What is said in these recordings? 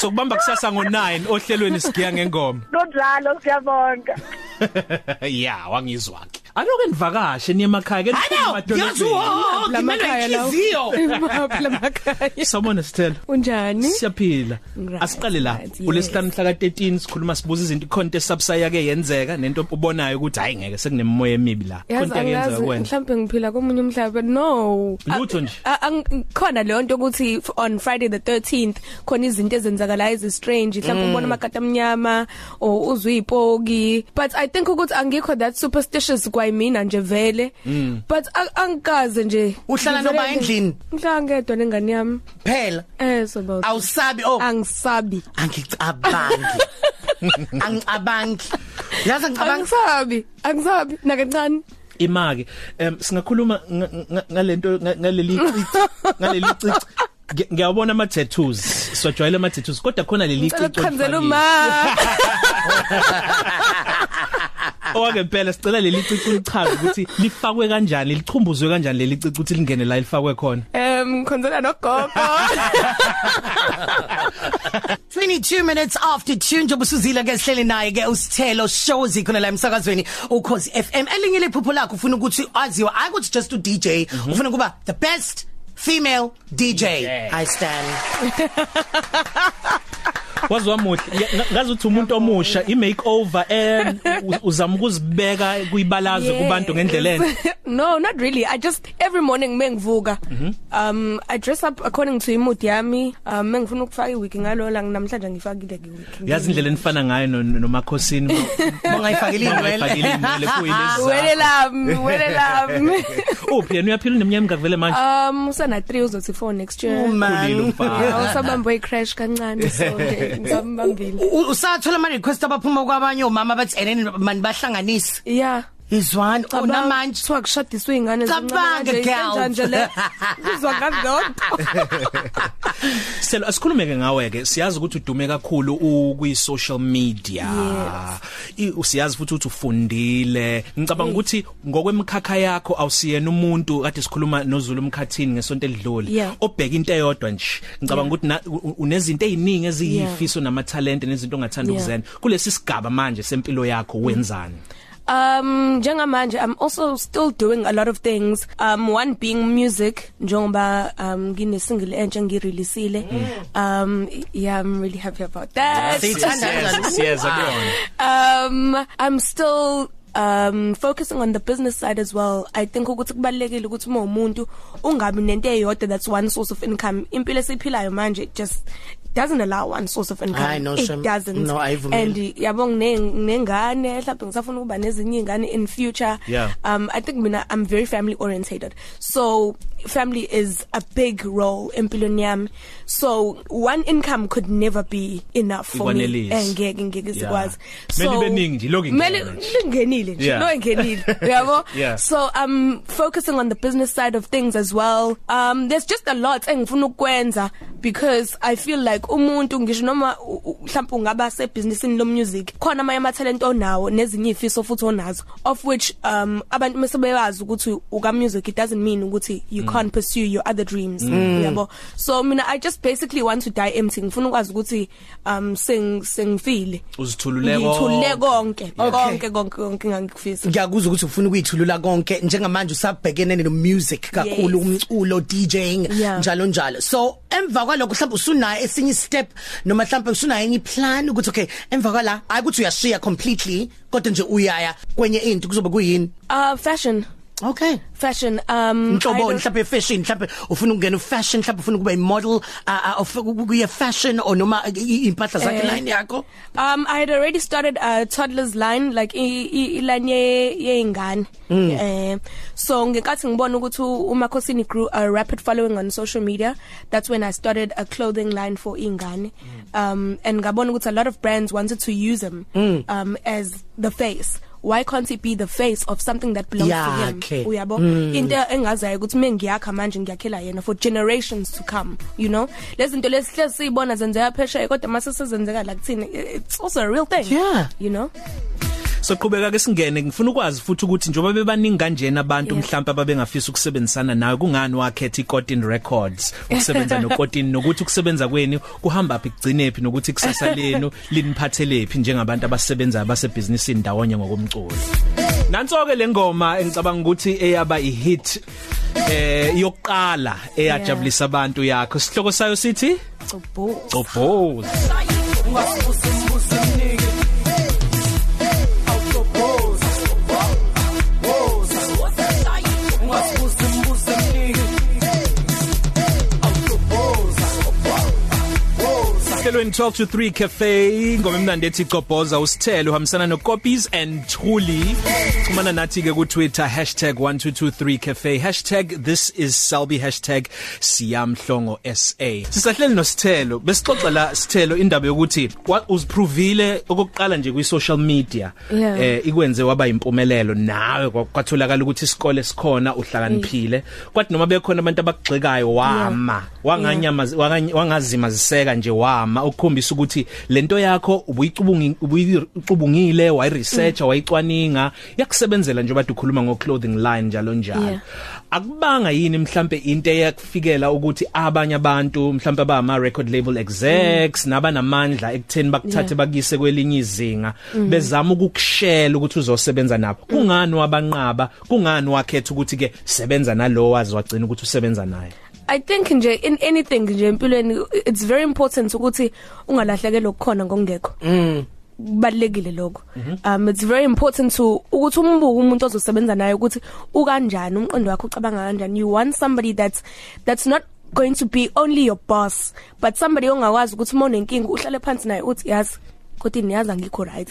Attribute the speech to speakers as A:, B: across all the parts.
A: Sokubamba kusasa ngo9 ohlelweni sigiya ngengoma.
B: Nodlalo siyabonga.
A: Yeah, wangizwa ke. Aloke nivakashe niye emakhaya ke
C: Ano, yazuho,
D: Lamakhaya lawo.
C: lamakhayo.
D: Imaphi lamakhaya?
A: Someone is tell.
D: Unjani?
A: Siyaphila.
D: Right,
A: Asiqale la.
D: right, yes.
A: Kulesihlanu mhla ka13 sikhuluma sibuza izinto ikhonto esubsaya ke yenzeka nento ubonayo ukuthi hayi ngeke sekunemoya emibi la.
D: Yazi
A: Ikhonto
D: angazi
A: yenzeka kuwena.
D: mhlambe ngiphila komunye umhlaba no
A: Lutho nje.
D: A- a- ang- khona le nto ukuthi f- on Friday the 13th khona izinto ezenzakalayo ezi strange mhlambe
A: Mm.
D: ubona amakati amnyama or uzwe ipoki but i think ukuthi angikho that superstitious kwayimina nje vele
A: Mm.
D: but a- angikaze nje
C: Uhlala
D: Ngivele
C: noba
D: nje-
C: endlini?
D: ngihlala ngedwa nengane yami
C: Phela.
D: eh so about
C: Awusabi oh
D: angisabi
C: angicabangi. Angicabangi. Yazi angicabangi.
D: angisabi angisabi nakancane
A: imake em singakhuluma nga- nga- ngalento nga- ngaleli cici ngaleli cici Ngi- ngiyabona ama tattoos swajwayela ama tattoos kodwa khona leli cici
D: ngicela ukukhanzela
A: olifakile.
D: uma
A: owake phela sicela leli cici ulichaze ukuthi lifakwe kanjani lichumbuzwe kanjani leli cici ukuthi lingene la lifakwe khona
D: em Um, khonzela nogogo
C: 22 minutes after tune njengoba usuzila ke sihleli naye ke usithelo shows ikhona la emsakazweni ukhozi FM elinye lephupho lakho ufuna ukuthi aziwe i could just to DJ ufuna kuba the best female DJ i stand
A: waziwa muhle Ya, nga- ngazi ukuthi umuntu omusha i makeover eh u- uzama ukuzibeka kuyibalazwe kubantu ngendlela enhle
D: Yes. no not really i just every morning mengivuka
A: Mhm.
D: um i dress up according to imood yami um mengifuna ukufaka iwig ngalola namhlanje ngifakile ke iwig
A: yazi indlela enifana ngayo no- no- nomakhosini ma-
C: Bangayifakile
A: ma-
C: inwele.
A: bangayifakile inwele kuyilezi
D: wele Ah, lami wele lami
A: uphi yena uyaphila nemnyama ngakuvele manje
D: um usana 3 uzothi 4 next
A: Oh
D: year
A: Khulile
C: man
A: umfana.
D: awusabamba i-crash kancane so nje ngisambambile
C: U- usathola ama request abaphuma kwabanye omama bathi and then mani bahlanganise
D: yeah
C: izwani unamanje
D: kuthiwa kushadiswe iy'ngane zincane
C: Cabanga,
D: kanje,
C: girl.
D: kanjani le uzwa ngazonto
A: selo asikhulume ke ngawe ke siyazi ukuthi udume kakhulu ukwi social media I- usiyazi futhi ukuthi ufundile ngicabanga ukuthi ngokwemkhakha yakho awusiyena umuntu kade sikhuluma noZulu umkhathini ngesonto
D: Yeah.
A: elidlule obheka into eyodwa nje ngicabanga ukuthi na- u- u- unezinto eziningi eziyifiso nama talent nezinto ongathanda
D: Yeah.
A: ukuzenza kulesi sigaba manje sempilo yakho wenzani
D: Um njengamanje I'm also still doing a lot of things. Um one being music njengoba um ngine single entsha ngireleasele. Um yeah I'm really happy about that.
C: Siyithanda kanjani?
A: kuyona
D: Um I'm still um focusing on the business side as well i think ukuthi kubalekile ukuthi uma umuntu ungabi nento eyodwa that's one source of income impilo esiphilayo manje it just doesn't allow one source of income
C: Hayi, no, Shem.
D: it doesn't
C: No, ayivumeli.
D: and yabonga nengane mhlawumbe ngisafuna ukuba nezinye ingane in future
A: Yeah.
D: um i think mina i'm very family orientated so family is a big role empilweni yami so one income could never be enough for me
A: Ikwanelisi.
D: Eh, ngeke ngeke
A: Yeah.
D: sikwazi
A: Kumele ibe ningi nje, ilokhu ingena
D: Kumele-
A: nje.
D: lingenile nje
A: Yeah.
D: lo engenile uyabo
A: Yeah.
D: so i'm focusing on the business side of things as well um there's just a lot engifuna ukwenza because i feel like umuntu ngisho noma u- u- mhlawumbe ungaba sebusinessini lo music khona amanye ama talent onawo nezinye ifiso futhi onazo of which um abantu mesebeyazi ukuthi uka music it doesn't mean ukuthi you mm. can't pursue your other dreams uyabo so mina i just basically want to die empty ngifuna ukwazi ukuthi um sing singfile
A: Uzithulule
D: ngithulule konke
C: Okay.
D: konke konke konke ngangikufisa
C: ngiyakuzwa ukuthi ufuna ukuyithulula konke njengamanje usabhekene no music kakhulu
D: Yes.
C: umculo DJing
D: Yeah.
C: njalo njalo so emva kwalokho mhlawumbe usunayo esinyi step noma mhlawumbe usunayo enye plan ukuthi okay emva kwala hayi ukuthi uyashiya completely kodwa nje uyaya kwenye into kuzobe kuyini
D: Uh fashion.
C: okay
D: Fashion. Um I
C: mhlobo
D: don't-
C: mhlawumbe fashion mhlawumbe ufuna ukungena fashion mhlawumbe ufuna ukuba i model uya fashion or noma i- i- impahla zakhe
D: Eh.
C: line yakho
D: um I had already started a toddler's line like ilanye yeingane. Eh so ngenkathi ngibona ukuthi u- uMakhosini grew a rapid following on social media, that's when I started a clothing line for ingane. Um and ngabona ukuthi a lot of brands wanted to use him um as the face. Why can't he be the face of something that belongs to him?
C: Yakhe.
D: uyabo into engazayo ukuthi mengiyakha manje ngiyakhela yena for generations to come you know lezinto lesihle siyibona zenzeka phesheya kodwa mase sezenzeka la kuthini it's also a real thing
C: Yeah.
D: you know
A: soqhubeka ke singene ngifuna ukwazi futhi ukuthi njengoba bebaningi kanjena abantu
D: Yeah.
A: mhlawumbe ababengafisa ukusebenzisana nawe kungani wakhetha iCotton Records ukusebenza noCotton nokuthi ukusebenza kweni kuhamba phi kugcine phi nokuthi kusasa lenu liniphathelephi njengabantu abasebenza basebusinessini ndawonye ngokomculo Nanso ke lengoma engicabanga ukuthi eyaba ihit eh yokuqala eyajabulisa abantu yakho sihloko sayo sithi
D: Cobo.
A: Cobos Helweni 12 to 3 cafe ingoma emnandi ethi Goboza usithele uhambisana no Copies and Truly xhumana nathi ke ku Twitter #1223cafe #thisisselby #siyamhlongo.sa Sisahleli no Sithelo besixoxa la Sithelo indaba yokuthi wa- uziprovile okokuqala nje kwi social media
D: Yeah.
A: eh ikwenze waba impumelelo nawe kwa- kwatholakala ukuthi isikole sikhona uhlakaniphile kwathi noma bekhona abantu abagxekayo wama wanganyama wangany- wangazimaziseka nje wama ukukhombisa ukuthi lento yakho ubuyicubungi ubuyicubungile wayiresearcha wayicwaninga yakusebenzela nje bathi ukhuluma ngoclothing line njalo njalo
D: Yeah.
A: akubanga yini mhlambe into eyakufikela ukuthi abanye abantu mhlambe ba ama record label execs nabanamandla ekutheni bakuthathe
D: Mm. Yeah. Mm.
A: bakuyise kwelinye izinga bezama ukukushela ukuthi uzosebenza nabo kungani wabanqaba kungani wakhetha ukuthi ke sebenza nalowo wazi wagcina ukuthi usebenza naye
D: I think nje in anything nje empilweni it's very important ukuthi ungalahlekelwa ukukhona ngokungekho. Mm. balekile lokho um it's very important to ukuthi umbuke umuntu ozosebenza naye ukuthi ukanjani umqondo wakhe ucabanga kanjani you want somebody that's that's not going to be only your boss but somebody ongakwazi ukuthi uma unenkinga uhlale phansi naye uthi yazi kodwa niyazi angikho right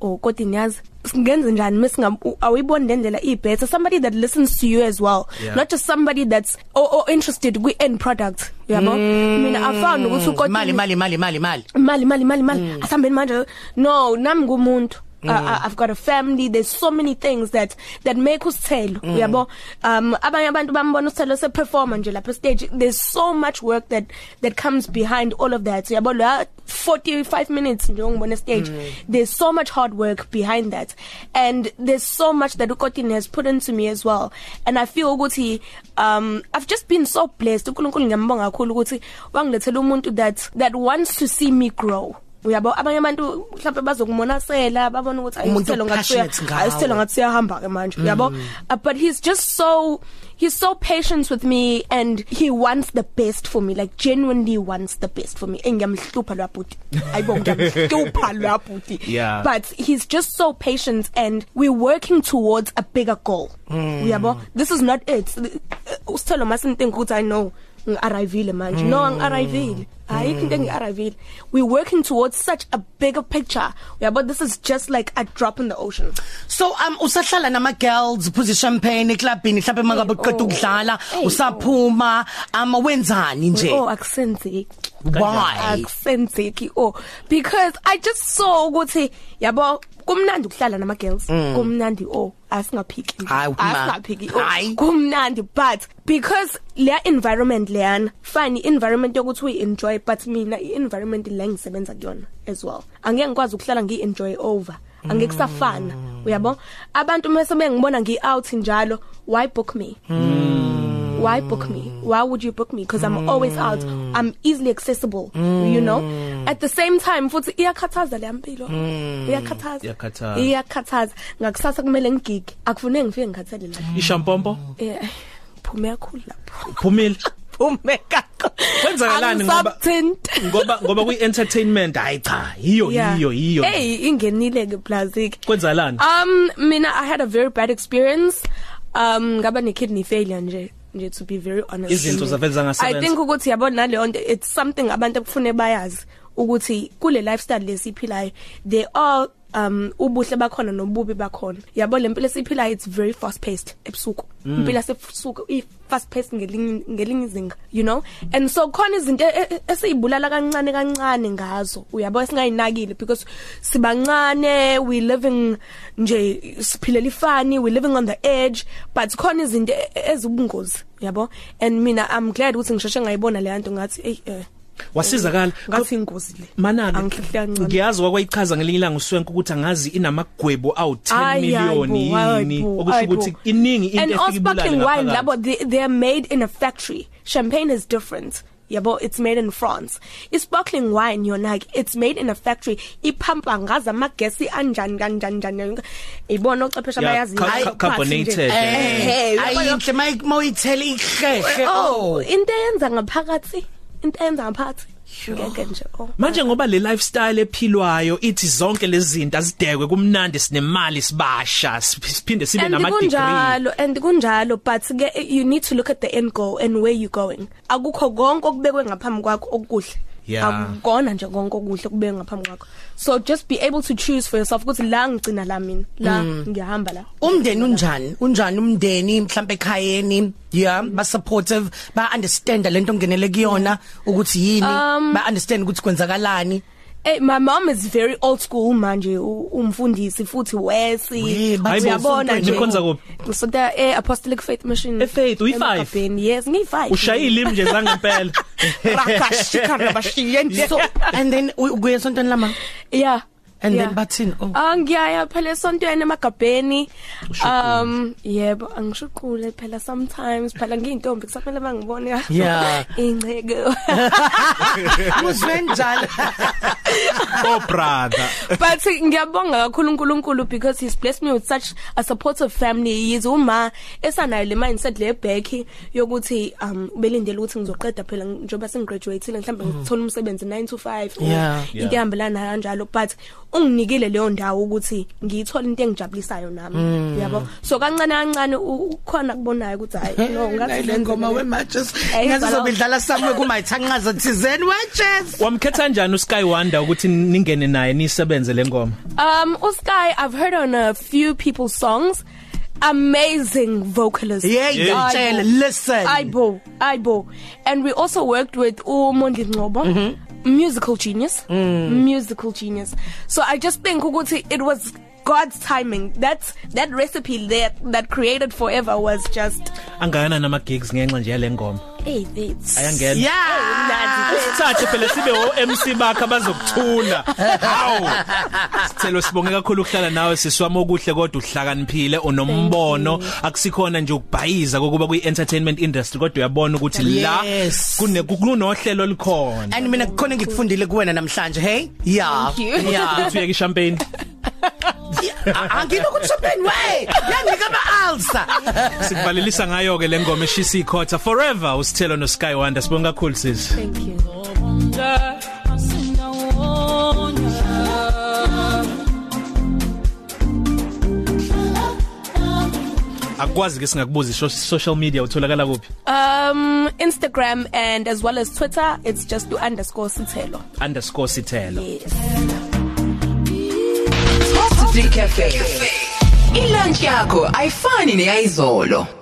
D: or kodwa niyazi singenze njani mesinga awuyiboni le ndlela ibhetha somebody that listens to you as well
A: Yeah.
D: not just somebody that's or, or interested kwi end product yabo mina i found ukuthi ukodwa
C: Mali mali mali mali mali.
D: imali imali imali imali asihambeni manje no nami ngumuntu Uh, I- I've got a family there's so many things that that make usithelo uyabo um abanye abantu bambona usithelo se performer nje lapha stage there's so much work that that comes behind all of that uyabo la 45 minutes nje ongibona stage
C: Mm.
D: there's so much hard work behind that and there's so much that ukotin has put into me as well and I feel ukuthi um I've just been so blessed uNkulunkulu ngiyambonga kakhulu ukuthi wangilethela umuntu that that wants to see me grow uyabo abanye abantu mhlawumbe bazokumonasela babona ukuthi
C: Umuntu
D: ayisithelo
C: passionate
D: ngathi
C: ngawe.
D: ayisithelo ngathi siyahamba ke manje uyabo Uh, but he's just so he's so patient with me and he wants the best for me like genuinely wants the best for me engiyamhlupha lwabhuti ayibo ngiyamhlupha lwabhuti
A: Yeah.
D: but he's just so patient and we're working towards a bigger goal uyabo this is not it Uh, usithelo mustn't think ukuthi i know ngiarrivile manje no angiarrivile ayikho into engiarrivile we're working towards such a bigger picture uyabo this is just like a drop in the ocean
C: So um usahlala nama girls uphuza champagne eclubini mhlawumbe mangabe
D: oh.
C: uqeda ukudlala
D: Hey, oh.
C: usaphuma ama wenzani
D: oh
C: nje?
D: akusenzeki
C: Why?
D: akusenzeki oh because i just saw ukuthi yabo kumnandi ukuhlala nama girls kumnandi oh asingaphiki
C: Mm. Hayi, ma.
D: asingaphiki
C: Hayi.
D: oh kumnandi but because leya environment leyana fine environment yokuthi uyi enjoy but mina i environment la ngisebenza kuyona as well angeke ngikwazi ukuhlala ngi enjoy over angeke kusafana
C: Mm.
D: uyabo abantu mase bengibona ngi out njalo why book me why book me why would you book me because i'm always out
A: Mm.
D: i'm easily accessible you know at the same time futhi iyakhathaza le mpilo iyakhathaza
A: Mm. Iyakhathaza.
D: iyakhathaza ngakusasa kumele ngigige akufuneki ngifike ngikhathele la
A: ishampompo
D: eh phume kakhulu lapho
A: phumile
C: Phumeka.
A: kwenzakalani ngoba
D: Angisabuthinti.
A: ngoba ngoba kwi entertainment hayi cha iyo
D: Yeah.
A: iyo iyo
D: hey ingenile ke plastic
A: kwenzakalani
D: um mina i had a very bad experience um ngaba ne kidney failure nje nje to be very honest
A: Izinto zavele zangasebenza.
D: i think ukuthi yabona nale nto it's something abantu ekufune bayazi ukuthi kule lifestyle lesiphilayo they are um ubuhle bakhona nobubi bakhona yabo lempilo esiphilayo it's very fast paced ebusuku
A: Mm.
D: impilo sebusuku i fast paced ngelinye ngelinye izinga you know and so khona izinto e- e- esizibulala kancane kancane ngazo uyabo singayinakile because sibancane we living nje siphilela ifani we living on the edge but khona izinto e- e- ezibungozi yabo and mina i'm glad ukuthi ngisheshe ngayibona le nto ngathi hey eh
A: wasizakala
D: ngathi ingozi le
A: manana
D: Angikhihle kancane.
A: ngiyazi wakwayichaza ngelinye ilanga uswenke ukuthi angazi inamagwebo awu10
D: Ayi, hayi bo,
A: million
D: hayi
A: yini
D: bo,
A: okusho
D: hayi bo.
A: ukuthi iningi
D: and
A: into
D: sparkling
A: efikibulala
D: wine labo they, they're made in a factory champagne is different yabo it's made in France isparkling wine yona ke it's made in a factory iphampa ngaza amagesi anjani kanjani kanjani ibona ocephesha
A: Yeah,
D: bayazi
A: ca-
D: hayi,
A: ca-
D: phathi nje.
A: carbonated,
C: Eh,
D: Eh, yabo-
C: ayinhle mayi mawuyithela ihlehle
D: oh
C: oh
D: into eyenza ngaphakathi into eyenza ngaphakathi ngeke nje oh
A: manje ngoba le lifestyle ephilwayo ithi zonke lezi zinto azidekwe kumnandi sinemali sibasha sip- siphinde sibe
D: and
A: nama degree
D: kunjalo and kunjalo but ke you need to look at the end goal and where you going akukho konke okubekwe ngaphambi kwakho okuhle
A: Yeah.
D: akukona nje konke okuhle kubekwe ngaphambi kwakho so just be able to choose for yourself ukuthi la ngicina la mina la
A: Mm.
D: ngiyahamba la
C: umndeni unjani unjani umndeni mhlawumbe ekhayeni yeah ba supportive ba understand lento ngenele kuyona ukuthi yini
D: Um,
C: ba understand ukuthi kwenzakalani
D: Hey my mom is very old school manje u- umfundisi futhi
C: We,
D: wesi
C: but
A: usonto- nikhonza kuphi?
D: ngisonta e Apostolic Faith Mission
A: E-Faith, uyi- five?
D: Emgabheni. Yes ngiyi5
A: ushayile imje zangempela
D: rakashika rabashiye nje
C: so and then uye sontweni lama
D: yeah
C: and
D: yeah.
C: then bathini oh
D: angiyaya phela esontweni emagabheni um yebo angishuqule phela sometimes phela ngiyintombi kusaphela bangibone
C: Yeah.
D: inceke
C: uzwe njalo
A: oh brother
D: but ngiyabonga kakhulu uNkulunkulu because he's blessed me with such a supportive family yize uma esanayo le mindset le back yokuthi um belindele ukuthi ngizoqeda phela njengoba sengigraduateile mhlambe ngithola umsebenzi 9 to 5 or
C: Mm-hmm. Yeah.
A: Yeah.
D: into ehambelana kanjalo but unginikile leyo ndawo ukuthi ngiyithole into engijabulisayo nami
C: Mm.
D: yabo so kancane kancane u- ukhona kubonayo ukuthi hayi no ngathi
C: le ngoma we matches
D: Eh,
C: ngathi
D: bhala-
C: uzobidlala samwe kumayithanqaza thizeni matches
A: wamkhetha kanjani uSky Wonder ukuthi ningene naye nisebenze lengoma
D: um uSky I've heard on a few people's songs amazing vocalist
C: yeah ngitshela listen
D: Aibo, Aibo. And we also worked with uMondi Ngobo,
C: Mm-hmm.
D: musical genius,
C: Mm.
D: musical genius. So I just think ukuthi it was God's timing. That's that recipe that that created forever was just
A: angayana nama gigs ngenxa nje yalengoma
D: hey this.
A: ayangena
C: yeah
A: Thathe phela sibe o MC bakhe abazokuthula. Hawu. Sicelo sibonge kakhulu ukuhlala nawe siswami okuhle kodwa uhlakaniphile unombono akusikhona nje ukubhayiza kokuba kwi entertainment industry kodwa uyabona ukuthi la
C: Yes.
A: kune kunohlelo likhona.
C: and mina kukhona engikufundile kuwena namhlanje hey yeah
D: Thank you.
C: yeah
A: Uthi uye champagne.
C: anginokuthi champagne way yanika ama ulcer
A: Sikubalelisa ngayo ke lengoma eshisa ikhotha forever usithelo no Sky Wonder sibonga kakhulu sis.
D: Thank you.
A: Akwazi ke singakubuza isho- social media utholakala kuphi?
D: Um Instagram and as well as Twitter, it's just to underscore sithelo.
A: _sithelo.
D: Yes.
E: Hot Cafe. Ilunch yakho ayifani neyizolo.